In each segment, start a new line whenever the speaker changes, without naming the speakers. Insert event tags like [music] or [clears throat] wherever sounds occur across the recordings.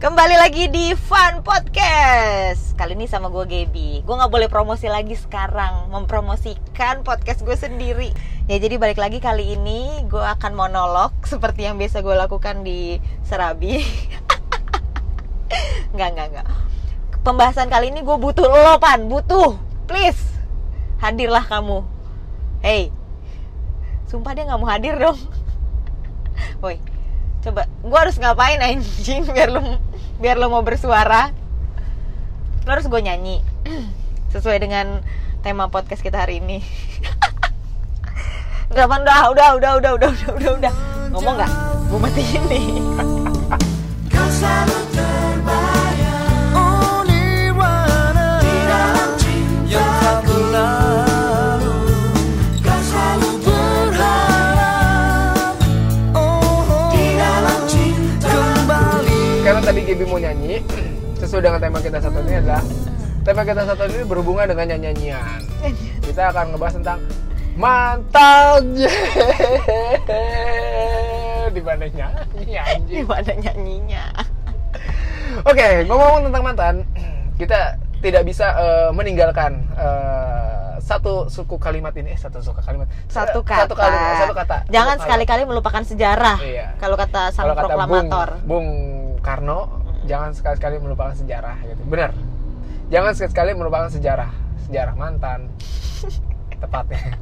Kembali lagi di Fun Podcast Kali ini sama gue Gaby Gue gak boleh promosi lagi sekarang Mempromosikan podcast gue sendiri Ya jadi balik lagi kali ini Gue akan monolog Seperti yang biasa gue lakukan di Serabi [laughs] Nggak, nggak, nggak Pembahasan kali ini gue butuh lo, Pan Butuh, please Hadirlah kamu Hey Sumpah dia nggak mau hadir dong [laughs] Woi coba gue harus ngapain anjing [laughs] biar lo biar lo mau bersuara lo harus gue nyanyi [clears throat] sesuai dengan tema podcast kita hari ini [laughs] udah Pan, udah udah udah udah udah udah udah udah ngomong nggak gue matiin nih [laughs]
Kau selalu terbayang Only wanna Di dalam cinta Oh, Yang tak berlalu Kau selalu berharap Oh Di dalam cinta Kembali
karena tadi Gaby mau nyanyi [clears throat] sesuai dengan tema kita satu ini adalah tema kita satu ini berhubungan dengan nyanyian kita akan ngebahas tentang mantan [laughs] di mana nyanyi anjing
gimana nyanyinya
oke ngomong tentang mantan [clears throat] kita tidak bisa eh, meninggalkan eh, satu suku kalimat ini eh, satu suku kalimat
satu
Eh,
kata,
satu kalimat satu kata
jangan
Satu kalimat.
sekali-kali melupakan sejarah
Iya.
kalau kata sang
Kalau kata
proklamator
Bung, Bung Karno, jangan sekali-kali melupakan sejarah gitu. Benar. Jangan sekali-kali melupakan sejarah, sejarah mantan.
[laughs]
Tepatnya.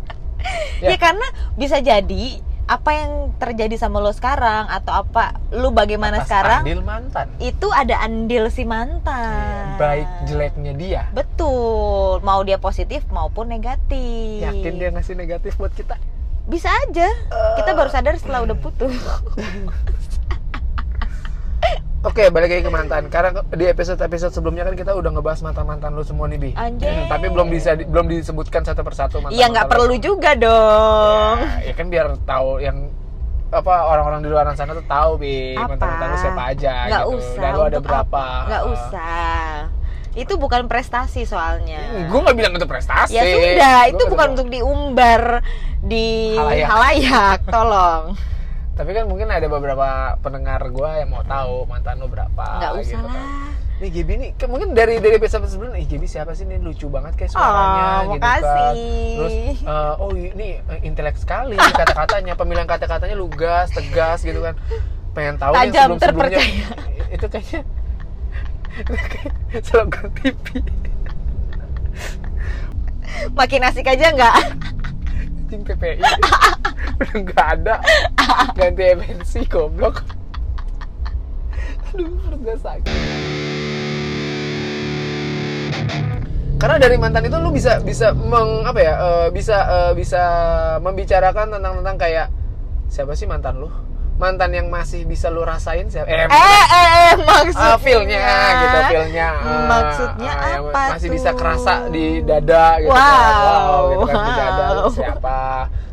Ya.
Ya.
karena bisa jadi apa yang terjadi sama lo sekarang atau apa lu bagaimana
Pas
sekarang
Andil mantan.
itu ada andil si mantan.
Iya, Baik jeleknya dia.
Betul, mau dia positif maupun negatif.
Yakin dia ngasih negatif buat kita?
Bisa aja. Kita baru sadar setelah udah putus.
Oke, balik lagi ke mantan. Karena di episode-episode sebelumnya kan kita udah ngebahas mantan-mantan lu semua nih, Bi.
Anjay.
Hmm, Tapi belum bisa di- belum disebutkan satu persatu mantan.
Iya nggak perlu juga dong.
Ya, ya kan biar tahu yang apa orang-orang di luar sana tuh tahu bi
Apa?
mantan-mantan lu siapa aja
Nggak
gitu.
usah.
Dan lu ada
untuk
berapa?
apa? Nggak usah. Itu bukan prestasi soalnya.
Gue nggak bilang itu prestasi.
Ya sudah,
Gua
itu bukan
nggak bilang.
untuk diumbar di
Halayak.
halayak.
[laughs]
Tolong.
Tapi kan mungkin ada beberapa pendengar gue yang mau tahu mantan lu berapa.
Nggak usah
gitu kan.
lah.
Nih Gibi nih, ke- mungkin dari dari episode sebelumnya, ih Gibi siapa sih nih lucu banget kayak
Oh,
suaranya gitu kan.
makasih.
Terus eh, oh ini eh, intelek sekali kata-katanya, pemilihan kata-katanya lugas, tegas gitu kan. Pengen tahu nih
Tajam,
sebelum-sebelumnya.
terpercaya.
Itu kayaknya [laughs] itu kayak slogan TV.
Makin asik aja nggak?
Anjing PPI. [laughs] Udah nggak ada. Ganti MNC goblok. Aduh, perut gue sakit. Karena dari mantan itu lu bisa bisa meng apa ya? eh, bisa eh, bisa membicarakan tentang tentang kayak siapa sih mantan lu? Mantan yang masih bisa lu rasain siapa?
eh,
Eh,
eh, eh, maksudnya iya.
Ah, feel-nya gitu feel-nya ah,
maksudnya
ah, yang
apa
masih
tuh?
bisa kerasa di dada gitu kan
Wow,
wow gitu kan di dada lu
wow.
siapa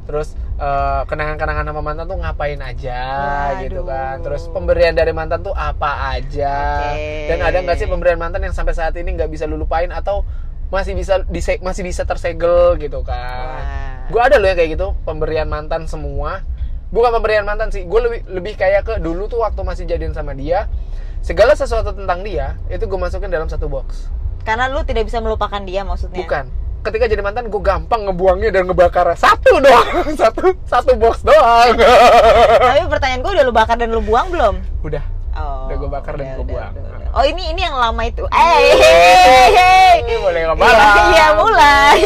terus eh, kenangan-kenangan sama mantan tuh ngapain aja gitu
Waduh.
kan terus pemberian dari mantan tuh apa aja
Oke.
dan ada nggak sih pemberian mantan yang sampai saat ini nggak bisa lu lupain atau masih bisa dise- masih bisa tersegel gitu kan
Wah.
gue ada loh ya kayak gitu pemberian mantan semua bukan pemberian mantan sih gue lebih lebih kayak ke dulu tuh waktu masih jadian sama dia segala sesuatu tentang dia itu gue masukin dalam satu box
karena lu tidak bisa melupakan dia maksudnya
bukan ketika jadi mantan gue gampang ngebuangnya dan ngebakar satu doang [laughs] satu satu box doang [laughs]
tapi pertanyaan gue udah lu bakar dan lu buang belum
udah
oh
Udah gua bakar dan
udah,
gua
udah,
buang.
udah, udah. oh ini ini yang lama itu eh hei, hei.
Ini boleh
Iya,
ngebalas
[laughs] iya
[laughs]
mulai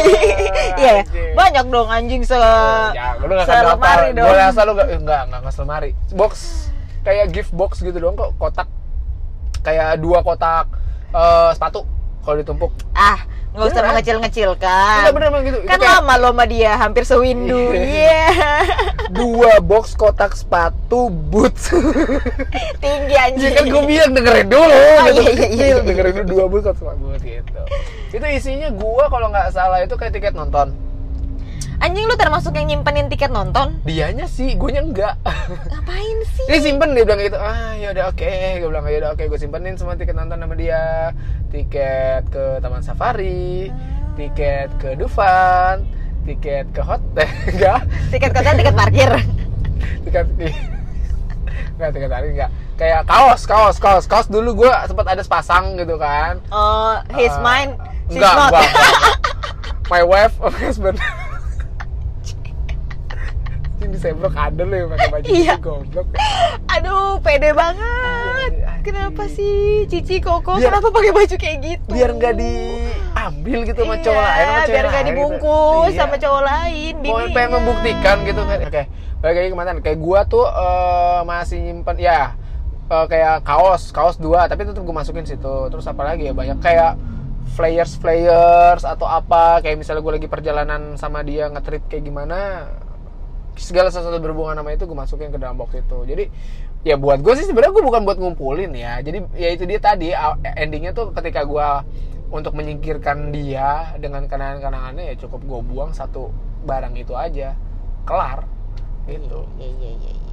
iya ya.
Anjing.
banyak dong anjing se
Ya, lu gak akan
Selemari
hafal.
dong.
Gue rasa lu gak, eh, enggak, enggak, enggak selemari. Box, kayak gift box gitu doang kok, kotak. Kayak dua kotak eh, sepatu kalau ditumpuk.
ah nggak usah
Beneran.
mengecil-ngecilkan
Enggak bener bener gitu.
kan
itu kayak
lama lo sama dia hampir sewindu iya [laughs]
dua box kotak sepatu boots.
tinggi anjing
Iya kan gue bilang dengerin dulu. gitu.
iya, iya, iya, iya.
Dengerin dulu dua box kotak sepatu boots gitu. Itu isinya gua kalau nggak salah itu kayak tiket nonton.
anjing lu termasuk yang nyimpenin tiket nonton
Dianya sih, guanya [laughs] enggak.
ngapain sih
dia simpen dia bilang gitu ah yaudah oke gue bilang yaudah oke gue simpenin semua tiket nonton sama dia tiket ke
Ah.
taman safari tiket ke Dufan tiket ke hotel [laughs] enggak [laughs]
tiket kota tiket parkir
tiket [laughs] enggak tiket hari enggak kayak kaos kaos kaos kaos dulu gue sempat ada sepasang gitu kan
Oh, his
Eh,
mine, she's
enggak,
not.
enggak, enggak.
[laughs]
my wife my husband [laughs] ini diseblok ada loh yang pakai baju
Iya.
itu, goblok
Aduh, pede banget.
Iya, anjing.
Kenapa sih Cici Koko
Biar-
kenapa pakai baju kayak gitu?
biar nggak diambil gitu sama
Iya,
cowok lain sama cewek
biar nggak
lain gitu.
dibungkus
Iya.
sama cowok lain.
mau
bininya.
pengen membuktikan gitu kan oke balik lagi ke mantan kayak gua tuh eh, masih nyimpen ya eh, kayak kaos kaos dua tapi tetap gua masukin situ terus apa lagi ya banyak kayak flyers flyers atau apa kayak misalnya gua lagi perjalanan sama dia nge-treat kayak gimana segala sesuatu berhubungan sama itu gue masukin ke dalam box itu jadi ya buat gue sih sebenarnya gue bukan buat ngumpulin ya jadi ya itu dia tadi a- endingnya tuh ketika gue untuk menyingkirkan dia dengan kenangan-kenangannya ya cukup gue buang satu barang itu aja kelar gitu
Iya, iya, iya, iya.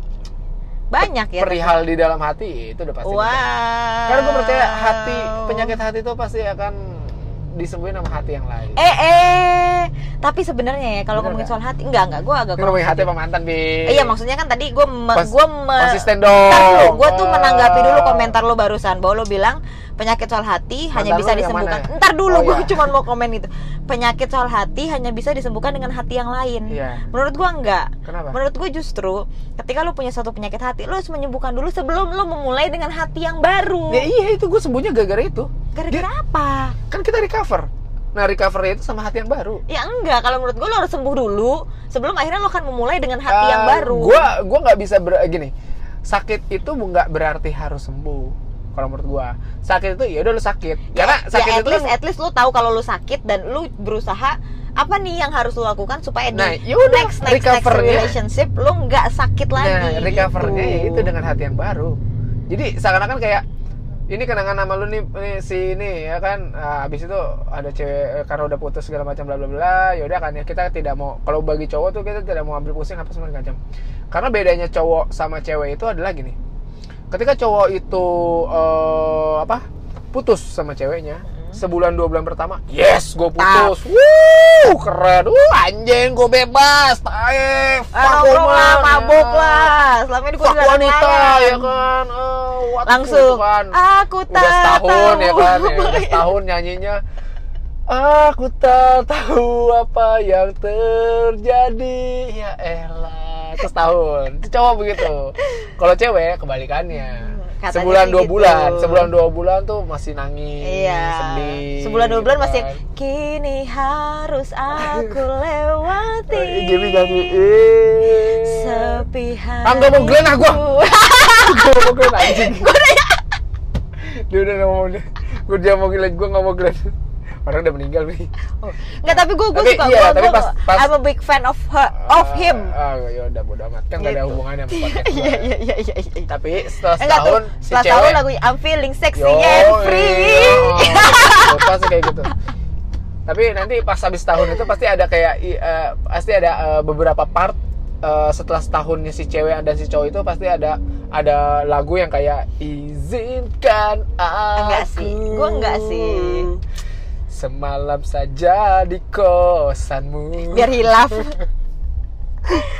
Banyak ya.
perihal di dalam hati itu udah pasti
Wow.
karena gue percaya hati penyakit hati itu pasti akan disembuhin sama hati yang lain
Eh, eh. Tapi sebenarnya ya kalau
Bener
ngomongin
nggak?
soal hati, enggak enggak, gue agak
Ini ngomongin
kurang
hati
setuju.
apa mantan bi
Eh, Iya maksudnya kan tadi gue me,
Kons-
gua me-
konsisten
Ntar lu,
dong
Gue tuh menanggapi dulu
Eh.
komentar lo barusan bahwa lo bilang penyakit soal hati hanya
Mantan
bisa
lu yang
disembuhkan.
mana ya?
Ntar dulu
Oh,
gue
iya.
cuma mau komen gitu. Penyakit soal hati hanya bisa disembuhkan dengan hati yang lain.
Iya.
Menurut gue enggak.
kenapa
Menurut gue justru ketika lo punya suatu penyakit hati, lo harus menyembuhkan dulu sebelum lo memulai dengan hati yang baru.
ya iya itu gue sembuhnya gara-gara itu
Gara-gara apa?
kan kita recover nah recovernya itu sama hati yang baru
Ya enggak. Kalau menurut gue lo harus sembuh dulu sebelum akhirnya lo akan memulai dengan hati yang baru.
gue Eh, Ah, gua nggak bisa ber, gini sakit itu bu- nggak berarti harus sembuh kalau menurut gue sakit itu ya udah lu sakit
Ya,
karena sakit
ya, at
itu
least
kan-
at least lu tahu kalau lu sakit dan lu berusaha apa nih yang harus lu lakukan supaya
Nah,
di
yaudah,
next next, next
recover-nya.
relationship lu nggak sakit lagi.
nah recovernya ya
gitu.
itu dengan hati yang baru jadi seakan-akan kayak ini kenangan sama lu nih, nih, si ini ya kan ah, abis itu ada cewek eh, karena udah putus segala macam bla bla bla ya udah kan ya kita tidak mau kalau bagi cowok tuh kita tidak mau ambil pusing apa segala macam karena bedanya cowok sama cewek itu adalah gini ketika cowok itu eh, apa putus sama ceweknya
Mm-hmm.
sebulan dua bulan pertama yes gue putus wuh keren wuh anjing gue bebas
Ah,
tae fuck
nongkrong lah,
woman.
mabok lah. Selama ini gue
Fuck wanita ya kan Eh, what
Langsung.
gitu kan.
Aku tak
udah setahun
tahu.
ya kan ya,
[laughs]
udah setahun nyanyinya aku tak tahu apa yang terjadi ya elah terus tahun Itu cowok begitu kalau cewek kebalikannya
katanya
sebulan
sih
dua
gitu.
bulan sebulan dua bulan tuh masih nangis
Iya.
sedih
Sebulan dua bulan
gitu
masih
kan.
kini harus
[laughs]
aku lewati.
Eh, gini nyanyi eh.
Sepi
Ah, nggak mau Glenn, ah, gua.
hatiku. [laughs]
gue mau Glenn anjing gue dia udah gak mau dia gue dia mau Glenn gue gak mau Glenn orang udah meninggal nih
Nggak tapi gue gue
Tapi
suka
iya,
gue
tapi pas- pas-
I'm a big fan of her of him.
ah ya udah bodo amat kan gak
Gitu.
ada hubungannya
[laughs]
sama
Iya
podcast
iya
gua.
iya iya iya, iya.
tapi setelah
Enggak tuh,
setahun si
setelah tahun
cewek
lagunya I'm feeling sexy
Yo,
and free.
iya. Lupa sih kayak gitu tapi nanti pas habis tahun itu pasti ada kayak i- eh, pasti ada eh, beberapa part eh, setelah setahunnya si cewek dan si cowok itu pasti ada ada lagu yang kayak izinkan aku
Enggak sih, gua enggak sih.
semalam saja di
[laughs]
kosanmu
Biar hilaf.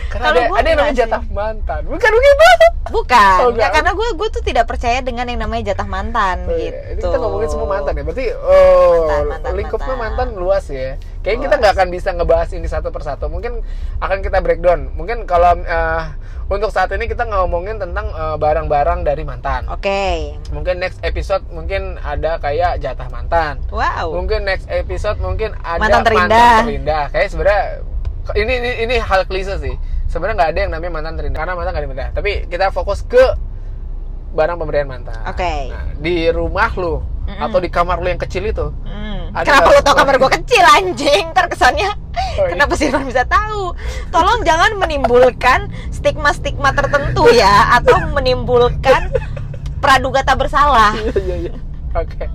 karena
Kalau gua
ada, ada yang
enggak
namanya
sih.
jatah mantan bukan begitu
Bukan, enggak
Oh, enggak.
karena gue gue tuh tidak percaya dengan yang namanya jatah mantan
Oh, iya. Ini
gitu.
kita ngomongin semua mantan ya. Berarti oh,
Mantan, mantan,
lingkupnya
mantan.
mantan. luas ya. Kayaknya kita nggak akan bisa ngebahas ini satu persatu. Mungkin akan kita breakdown. Mungkin kalau eh, untuk saat ini kita ngomongin tentang eh, barang-barang dari mantan.
Oke.
Mungkin next episode mungkin ada kayak jatah mantan.
Wow.
Mungkin next episode mungkin ada
Mantan terindah.
terindah. Kayak sebenarnya ini, ini ini hal klise sih. Sebenarnya nggak ada yang namanya mantan terindah karena mantan nggak ada yang terindah. Tapi kita fokus ke barang pemberian mantan.
Oke.
Nah, di rumah lu
Mm-mm.
atau di kamar lu yang kecil itu. [laughs]
Hmm.
Ada
Kenapa
nggak?
lo tau kamar gue kecil anjing? Ntar kesannya
iya.
Kenapa sih Irfan bisa tahu? Tolong jangan menimbulkan stigma-stigma tertentu ya Atau menimbulkan praduga tak bersalah
Iya iya iya. Oke.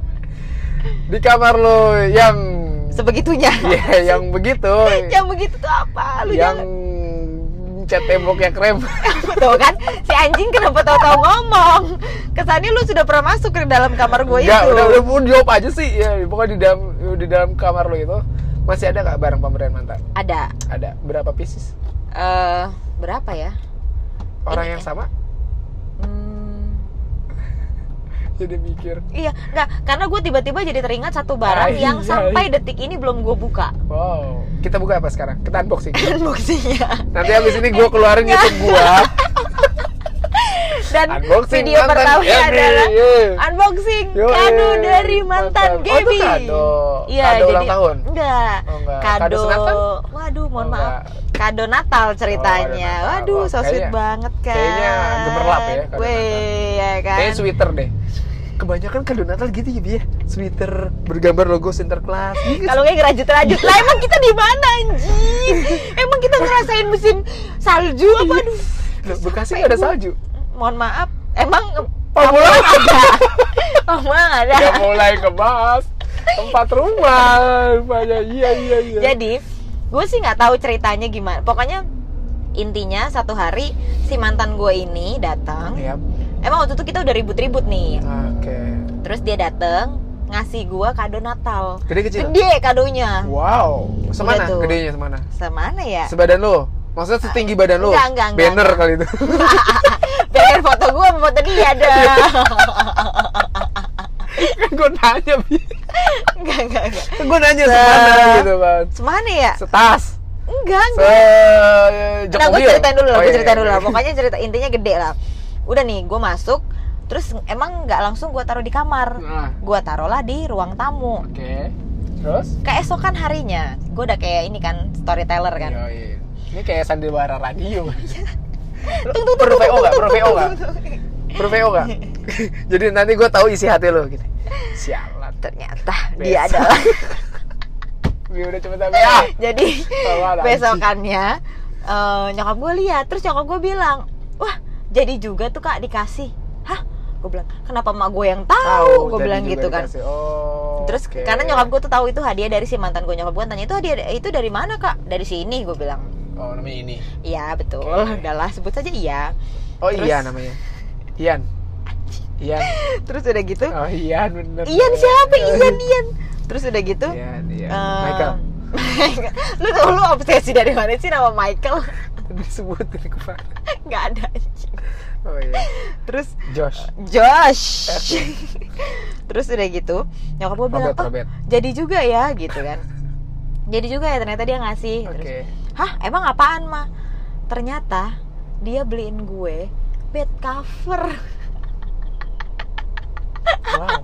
Di kamar lu yang [laughs]
Sebegitunya
Iya, yang begitu.
[laughs] Yang begitu tuh apa? Lu
yang
jangan
cat temboknya krem.
Tuh kan, si anjing kenapa tahu-tahu ngomong? Kesannya lu sudah pernah masuk ke dalam kamar gue itu.
Enggak, udah udah udah jawab aja sih. Ya, pokoknya di dalam di dalam kamar lu itu masih ada nggak barang pemberian mantan?
Ada
Ada berapa pieces?
eh berapa ya?
Orang
Ini-
yang sama?
Hmm,
jadi mikir
Iya, nggak karena gue tiba-tiba jadi teringat satu barang
Ay,
yang
ay.
sampai detik ini belum gue buka
wow kita buka apa sekarang kita
[laughs]
unboxing
unboxingnya.
nanti habis ini gue keluarin YouTube
[laughs]
gua
Dan
unboxing
video
mantan Iya,
pertama
Gaby.
adalah
Yeah.
unboxing
Yoi.
kado dari mantan
Mantan. Oh, itu
Gaby.
kado.
Iya,
Kado ulang tahun?
Enggak.
Oh, enggak. Kado
Kado.
sunatan?
Waduh, mohon
Oh,
maaf.
enggak. Oh,
Kado Natal ceritanya.
Natal.
Waduh, so sweet
Kayaknya-
banget kan.
kayaknya gemerlap ya, kado
Weh, ya kan.
Kayaknya sweater deh. Kebanyakan kado Natal gitu ya dia. Sweater bergambar logo Iya Sinterklas.
Kalau kayak ngerajut-rajut lah emang kita di mana anjing? Emang kita ngerasain musim salju apa aduh.
Loh, Bekasi nggak ada salju.
Mohon maaf, emang
Pamulang [laughs]
ada. Emang ada.
Udah mulai kebas. Tempat rumah. Rupanya. Iya iya iya.
Jadi, gue sih nggak tahu ceritanya gimana. Pokoknya intinya satu hari si mantan gue ini datang.
Yap.
Emang waktu itu kita udah ribut-ribut
Iya.
nih.
Oke.
Terus dia datang ngasih gue kado Natal.
Gede kecil.
Gede kadonya.
Wow. Semana?
Udah tuh.
Gedenya semana?
Semana ya?
Sebadan lo? Maksudnya setinggi badan lo?
Enggak, enggak, enggak.
Banner kali itu. [laughs]
Pengen foto gue sama foto dia ada.
Iya. kan gue nanya, Bi.
[laughs] enggak, enggak, enggak.
Kan gue nanya semana gitu, Bang.
Semana ya?
Setas.
Enggak,
Se... eh,
enggak.
jok
Nah, gue
mobil.
ceritain dulu lah,
Oh,
gue
iya,
ceritain
iya,
dulu lah.
iya.
Pokoknya cerita intinya gede lah. Udah nih, gue masuk. Terus emang nggak langsung gue taruh di kamar.
[laughs] Nah,
Gue taruhlah di ruang tamu.
Oke. Terus?
Keesokan harinya, gue udah kayak ini kan storyteller kan. Iya.
Yoi. Ini kayak sandiwara
[laughs]
radio.
Tung, tung, tung,
Perlu
tung,
VO nggak?
tung,
Perlu
tung,
VO
tung,
nggak?
tung, tung.
Perlu VO
[laughs]
nggak? Jadi nanti gue tahu isi hati lo gitu. Sialan.
Ternyata dia
[laughs] Besok.
adalah.
Gue udah cepet sampai ah.
Jadi
Bawa lagi.
besokannya eh, nyokap gue lihat, terus nyokap gue bilang, wah jadi juga tuh kak dikasih. Hah? Gue bilang kenapa mak gue yang tahu? Gue
jadi
bilang
juga
gitu kan.
dikasih. Oh.
Terus
oke.
karena nyokap gue tuh tahu itu hadiah dari si mantan gue nyokap gue tanya itu hadiah itu dari mana kak? Dari sini gue bilang.
Oh namanya ini.
Iya betul.
Oke.
Udahlah sebut saja iya.
Oh
Terus-
iya namanya. Ian. Ian.
Terus udah gitu.
Oh Ian bener.
Ian siapa?
Iya.
Ian Ian. Terus udah gitu.
Ian, Ian.
eh,
Michael.
lu tuh lu obsesi dari mana sih nama Michael? [laughs]
Disebutin kemarin.
Gak ada. anjing.
Oh iya.
Terus
Josh.
Josh. [laughs] Terus udah gitu, nyokap gue bilang,
Robert,
"Oh,
Robert.
jadi juga ya," gitu
[laughs]
kan. jadi juga ya ternyata dia ngasih.
Oke.
Terus, "Hah, emang apaan, Ma?" Ternyata dia beliin gue bed cover. [laughs]
Wow.
[laughs]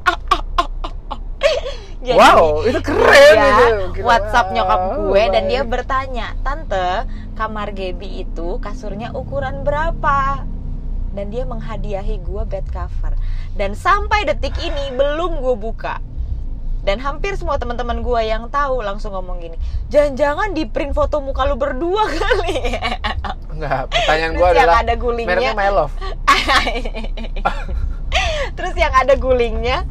Jadi,
wow, itu keren
dia
itu. Gila,
Iya, WhatsApp
wow.
nyokap gue dan dia
Baik.
bertanya, "Tante, kamar Gaby itu kasurnya ukuran berapa?" Dan dia menghadiahi gue bed cover. Dan sampai detik ini belum gue buka. Dan hampir semua teman-teman gue yang tahu langsung ngomong gini, "Jangan-jangan di print foto muka lu berdua [laughs] kali."
Enggak, pertanyaan
Terus
gue
yang
adalah
ada gulingnya.
mereknya My Love.
[laughs] Terus yang ada gulingnya,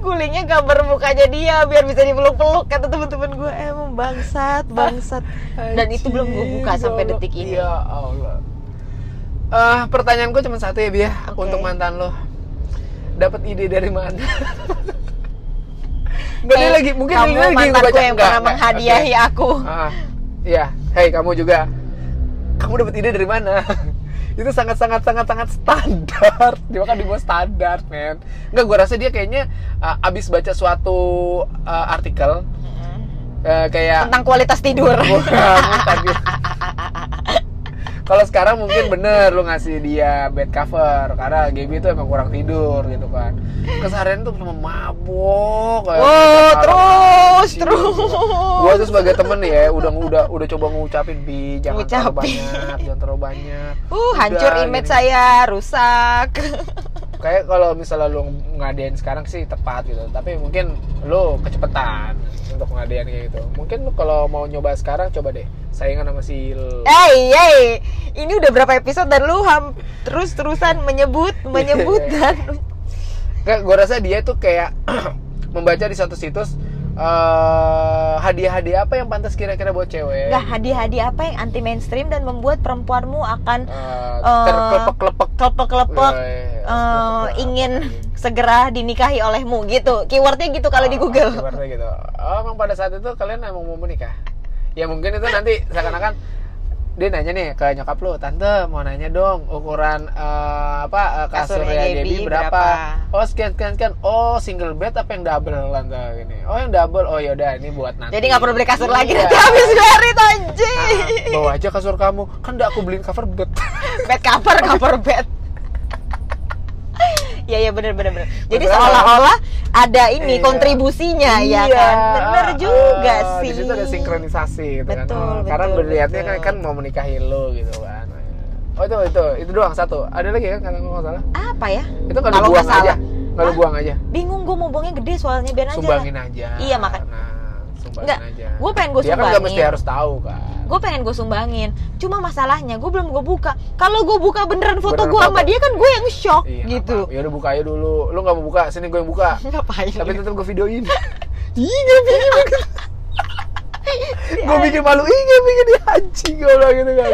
gulingnya gambar mukanya dia biar bisa dipeluk-peluk kata teman-teman gue emang bangsat, bangsat. Dan itu belum gue buka
Anjir,
sampai
ya
detik
Allah.
ini.
Ya Allah. Eh, pertanyaan gue cuma satu ya, Bia,
Oke.
untuk mantan lo. Dapat ide dari mana? [laughs] Enggak dia
Eh,
lagi mungkin
kamu
dia lagi
mantan
ngebaca-
gue yang
enggak,
pernah
enggak,
menghadiahi
oke.
aku.
Ah, Iya, hei kamu juga. Kamu dapat ide dari mana? [laughs] itu sangat sangat sangat sangat standar. [laughs] Dia kan dibuat standar, men. Enggak, gua rasa dia kayaknya uh, abis baca suatu uh, artikel uh, kayak
[laughs] Tentang kualitas tidur. [laughs]
Bukan, bukan, Bi. Kalau [laughs] sekarang mungkin bener lu ngasih dia bed cover karena Gaby itu emang kurang tidur gitu kan. Keseharian tuh cuma mabok. kayak
Wow,
kata-kata.
terus,
Iya,
terus.
Gua tuh sebagai temen nih ya udah udah udah coba ngucapin bi jangan terlalu
Ngucapin.
banyak, jangan terlalu banyak.
Uh, hancur
Udah,
image
gini.
saya, rusak. [laughs]
Kayak kalau misalnya lu ngadain sekarang sih tepat gitu, tapi mungkin lu kecepetan untuk ngadain kayak gitu. Mungkin lu kalau mau nyoba sekarang coba deh saingan sama si L.
hey, hey, ini udah berapa episode dan lu ham terus-terusan menyebut,
[laughs]
menyebut dan
Kayak gue rasa dia tuh kayak [clears throat] membaca di satu situs eh, hadiah-hadiah apa yang pantas kira-kira buat cewek.
nggak hadiah-hadiah apa yang anti mainstream dan membuat perempuanmu akan
Eh,
Eh,
terkelepek-kelepek. Iya,
kelepek-kelepek eh,
Kelepek-kelepek.
ingin segera dinikahi olehmu gitu. Keywordnya gitu kalau di
Oh,
Google.
keywordnya gitu. Oh, emang pada saat itu kalian emang mau menikah? Ya mungkin itu nanti seakan-akan dia nanya nih ke nyokap lu tante mau nanya dong ukuran eh, apa eh, kasurnya
Kasurnya
Debbie,
Debbie
berapa?
berapa?
oh sekian sekian sekian oh single bed apa yang double tante gini oh yang double oh yaudah ini buat nanti
Jadi nggak perlu beli kasur lagi
Iya.
nanti habis merit anjing.
Ah, [laughs] bawa aja kasur kamu kan udah aku beliin cover bed Ah.
bed cover, cover bed. Iya iya bener bener bener. Jadi
Beneran.
seolah-olah ada ini
Iya.
kontribusinya ya
Iya,
kan. Bener
ah,
juga
ah,
sih.
Di situ ada sinkronisasi gitu kan.
Betul,
Oh, Karena
betul,
melihatnya kan
betul.
kan mau menikahi lo gitu kan. Oh itu itu itu doang satu. Ada lagi kan kalau nggak salah.
Apa ya?
Itu kalau
Kalau nggak
buang aja.
salah.
Kalau
Hah?
buang aja.
Bingung gue mau buangnya gede soalnya biar aja.
Sumbangin aja.
Iya, makanya.
Nah, sumbangin
Nggak,
aja.
gua pengen gua
Dia kan nggak mesti
sumbangin.
harus tahu kan.
Gue pengen gue sumbangin. Cuma masalahnya gue belum gue buka. Kalau gue buka beneran foto
Beneran
gue sama
foto.
dia kan gue yang shock
Iya,
gitu.
Ya udah buka aja dulu. Lo nggak mau buka, sini gue yang buka.
[laughs] Ngapain?
Tapi tetap gue
[laughs]
videoin.
Iya, gak
[laughs]
Eh, bikin banget.
gue bikin malu. Ih, gue bikin dia anjing gue bilang gitu
[laughs]
kan.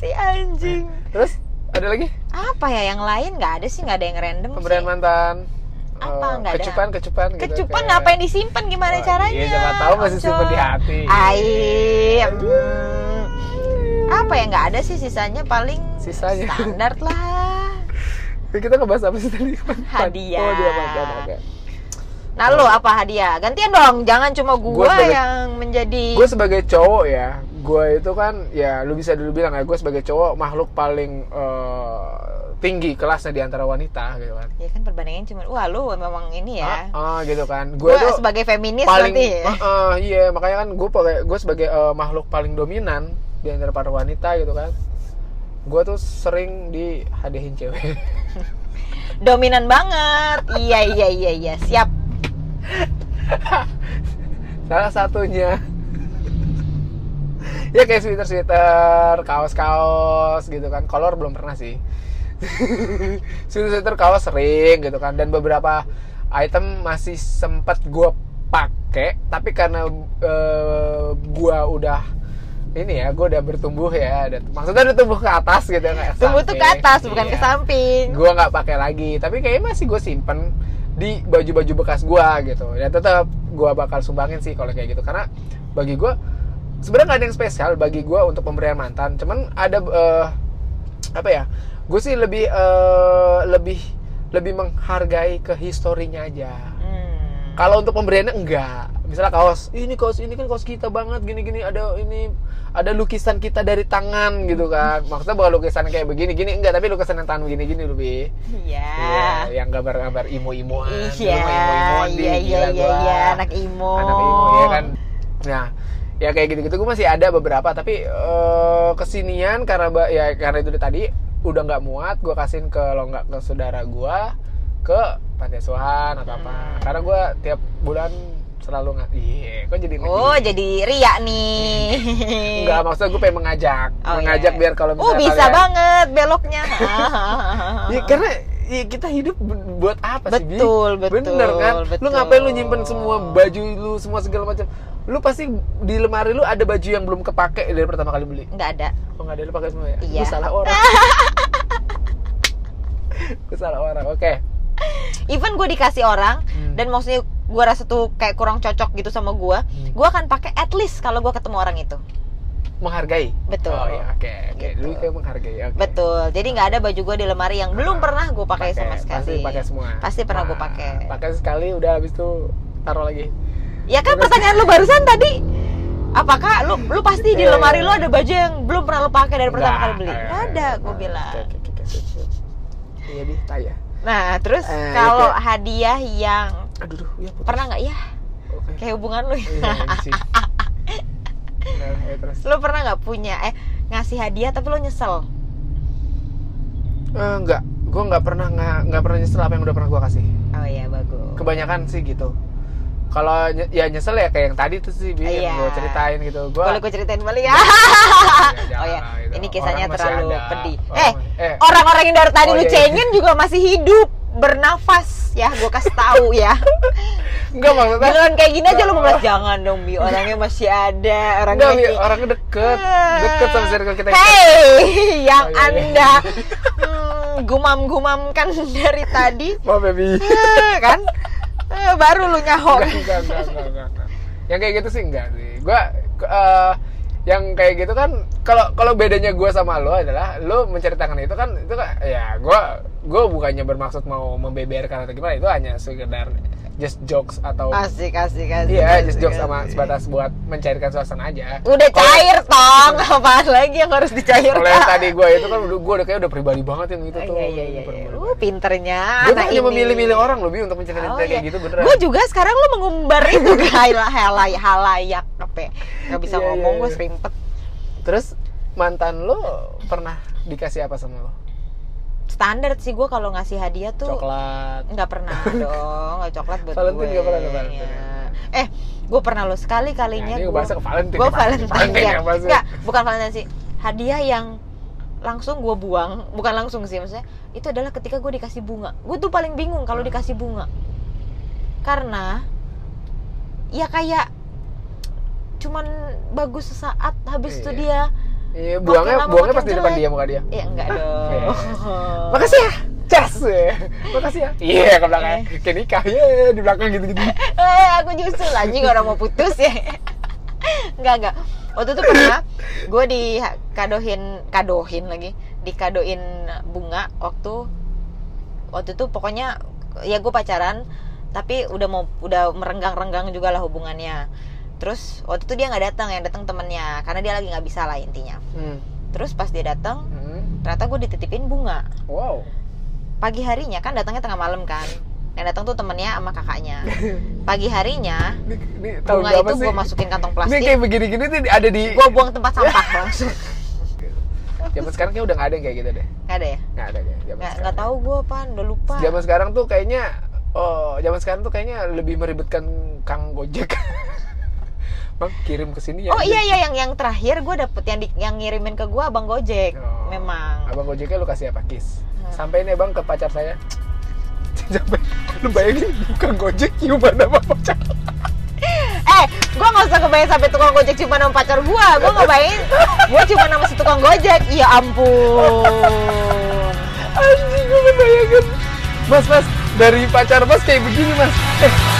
si anjing.
Terus ada lagi
Apa ya yang lain nggak ada sih nggak ada yang random
pemberian
sih.
mantan.
Apa,
Eh,
nggak ada?
kecupan, kecupan, gitu,
Kecupan
kayak-
ngapain disimpan gimana
Oh,
caranya?
Iya, siapa tahu masih
Oncom.
simpen di hati. Iya.
Ai, hmm. Apa ya nggak ada sih sisanya paling
Sisanya.
standar
[laughs]
lah.
Ya, Kita ngebahas apa sih tadi? Mantan.
Hadiah.
Oh, dia mantan. Oke.
Nah lo apa hadiah? Gantian dong, jangan cuma
Gua
gua,
sebagai-
yang menjadi
Gue sebagai cowok ya, gue itu kan ya lu bisa dulu bilang ya gue sebagai cowok makhluk paling eh, tinggi kelasnya di antara wanita gitu kan.
ya kan perbandingan cuma wah lu memang ini ya.
Ah, ah, gitu kan. Gue
Gue
tuh
sebagai feminis ya.
paling
nanti.
Ah, ah, iya makanya kan gue pakai gue sebagai eh, makhluk paling dominan di antara para wanita gitu kan. Gue tuh sering dihadiahin cewek.
Dominan banget. iya iya iya iya siap.
salah satunya [laughs] ya kayak sweater sweater kaos kaos gitu kan kolor belum pernah sih [laughs] sweater sweater kaos sering gitu kan dan beberapa item masih sempat gua pakai tapi karena eh, gua udah ini ya gua udah bertumbuh ya ada- maksudnya udah tumbuh ke atas gitu ya nggak
Tumbuh tuh ke
samping.
atas bukan ke
Iya
samping.
gue nggak pakai lagi tapi kayaknya masih gue simpen di baju-baju bekas gue gitu ya tetap gue bakal sumbangin sih kalau kayak gitu karena bagi gue sebenarnya nggak ada yang spesial bagi gue untuk pemberian mantan cuman ada eh, apa ya gue sih lebih eh, lebih lebih menghargai ke historinya aja
Hmm.
kalau untuk pemberiannya enggak misalnya kaos ini kaos ini kan kaos kita banget gini gini ada ini ada lukisan kita dari tangan gitu kan maksudnya bukan lukisan kayak begini gini enggak tapi lukisan yang tangan begini gini lebih
Iya.
Iya, yang gambar-gambar imo-imoan
Iya, iya, iya, iya, iya, anak imo.
anak imo ya kan nah ya kayak gitu-gitu gue masih ada beberapa tapi eh, kesinian karena ba- ya karena itu tadi udah nggak muat gue kasihin ke lo nggak ke saudara gue ke panti asuhan atau apa
Hmm.
karena gue tiap bulan selalu nggak iya kok jadi nge-
Oh, jadi ria nih.
nggak maksudnya gue pengen mengajak
Oh,
mengajak
iya.
biar kalau
Oh,
misalnya
bisa
kalian-
banget
[laughs]
beloknya.
Ya, karena ya, kita hidup bu- buat apa sih? Bi?
Betul, betul,
Bener kan? Lu
betul.
ngapain lu nyimpen semua baju lu, semua segala macam. Lu pasti di lemari lu ada baju yang belum kepake dari pertama kali beli.
Nggak ada.
Oh nggak ada lu pakai semua ya?
Iya.
Lu salah orang.
[laughs]
Lu salah orang. Oke.
Even gue dikasih orang
Hmm.
dan maksudnya gue rasa tuh kayak kurang cocok gitu sama gue,
Hmm.
gue akan pakai at least kalau gue ketemu orang itu.
Menghargai.
Betul.
Oh iya, oke. oke.
Gitu.
Lu kayak menghargai. oke.
Betul. Jadi nggak ada baju gue di lemari yang belum pernah gue pakai sama
Pasti
sekali.
Nah, pakai semua.
Pasti pernah gue
Nah,
pakai.
Pakai sekali udah habis itu taruh lagi.
Ya kan pertanyaan lu barusan tadi Apakah lu lu pasti di
Iya,
lemari
iya.
lu ada baju yang belum pernah lu pakai dari pertama
Nggak,
kali beli?
eh,
Nggak ada, gue
nah,
bilang.
oke, oke, oke, oke. Iya, di tanya.
Nah, terus
Eh,
kalau
itu.
hadiah yang
Aduh, duh, ya putus.
pernah nggak ya
Oke.
kayak hubungan lu?
Iya, anjing. Nah, ya terus.
[laughs] lu pernah nggak punya eh ngasih hadiah tapi lu nyesel?
Eh, enggak, gue nggak pernah nggak nggak pernah nyesel apa yang udah pernah gue kasih.
Oh iya bagus.
Kebanyakan sih gitu. Kalau nye- ya nyesel ya kayak yang tadi tuh sih, Bi,
Iya.
gue ceritain gitu. Gue [laughs]
Boleh gue ceritain balik ya? [laughs] oh ya,
gitu.
ini kisahnya terlalu pedih. eh,
eh,
orang-orang yang dari tadi
Oh,
lu
iya, iya.
cengin juga masih hidup, bernafas ya, gue kasih tahu ya.
[laughs] enggak maksudnya.
Beneran kayak gini aja lu mau bilang jangan dong Bi, orangnya masih ada, orangnya
Enggak, Bi,
masih
orangnya deket, deket sama circle kita. gitu.
Hey, [laughs] yang
Oh, iya, iya. [laughs]
Anda hmm, gumam-gumamkan [laughs] dari tadi
Mau baby.
eh, kan eh, baru lu nyaho.
Enggak, enggak, enggak, enggak, enggak. Yang kayak gitu sih enggak sih. Gua eh, yang kayak gitu kan kalau kalau bedanya gue sama lo adalah lo menceritakan itu kan itu kan ya gue gue bukannya bermaksud mau membeberkan atau gimana itu hanya sekedar just jokes atau
Asik, asik, asik.
iya
asik,
just jokes
asik.
sama sebatas buat mencairkan suasana aja
Udah
Kalau-
cair tong, apaan lagi yang harus dicairkan?
kalau yang tadi gue itu kan udah gue udah kayak udah pribadi banget yang itu tuh
Iya, iya, iya.
Pribadi
iya.
banget.
Uh, pinternya
Gue tuh hanya memilih-milih orang loh, Bi, untuk
Oh,
menceritakan kayak gitu beneran.
Gue iya. juga sekarang lu mengumbar itu halayak, halayak, halayak apa ya? Gak bisa
Iya, iya,
ngomong gue
iya.
serimpet.
Terus mantan lo pernah dikasih apa sama lo?
Standar sih gue kalau ngasih hadiah tuh
Coklat.
nggak
[laughs]
pernah dong, nggak coklat buat
Valentine
gue.
nggak pernah, nggak pernah.
Iya. Eh, gue pernah lo sekali kalinya.
ini
gue-
bahasa ke Valentine.
gue
ya,
Valentine
Valentine
ya.
ya, maksudnya.
Enggak, bukan Valentine sih. Hadiah yang langsung gue buang, bukan langsung sih maksudnya. Itu adalah ketika gue dikasih bunga. Gue tuh paling bingung
Hmm.
kalau dikasih bunga. Karena ya kayak cuman bagus sesaat habis itu
Iya.
dia
Iya, buangnya
lama
buangnya
makin
pas di depan
jelek.
dia muka dia.
ya enggak dong.
[laughs] iya. Makasih ya. Cas. ya. Makasih ya. Iya, ke belakang. Kayak nikah. Iya, di belakang gitu-gitu.
eh aku justru anjing orang mau putus ya [laughs] nggak nggak waktu itu pernah gue di kadohin kadohin lagi dikadoin bunga waktu waktu itu pokoknya ya gue pacaran tapi udah mau udah merenggang-renggang juga lah hubungannya terus waktu itu dia nggak datang yang datang temennya karena dia lagi nggak bisa lah intinya
Hmm.
terus pas dia datang
Hmm.
ternyata gue dititipin bunga
Wow.
pagi harinya kan datangnya tengah malam kan yang datang tuh temennya sama kakaknya pagi harinya
Ini, ini tahun
bunga
berapa
itu
sih?
gue masukin kantong
Ini
plastik
kayak begini-gini tuh ada di
gue buang tempat
[laughs]
sampah langsung
zaman sekarang kayak udah nggak ada yang kayak gitu deh.
nggak ada ya
Nggak ada deh. zaman
nggak nggak
sekarang.
tahu gue pan udah lupa
Zaman sekarang tuh kayaknya oh, zaman sekarang tuh kayaknya lebih meribetkan Kang Gojek. [laughs] Bang, kirim ke sini ya.
oh iya iya yang yang terakhir gue dapet yang di- yang ngirimin ke gue abang gojek
Oh.
memang
Abang Gojeknya lu kasih apa? Kis.
Hmm.
Sampai nih Bang ke pacar saya. [laughs] Sampai lu bayangin bukan Gojek ciuman sama pacar.
eh gue nggak usah kebayang sampai tukang gojek cuma sama pacar gue gue nggak
[laughs]
bayangin gue cuma sama si tukang gojek iya
[laughs]
ampun
Anjing gue bayangin. Mas, Mas, dari pacar Mas kayak begini, Mas. Eh,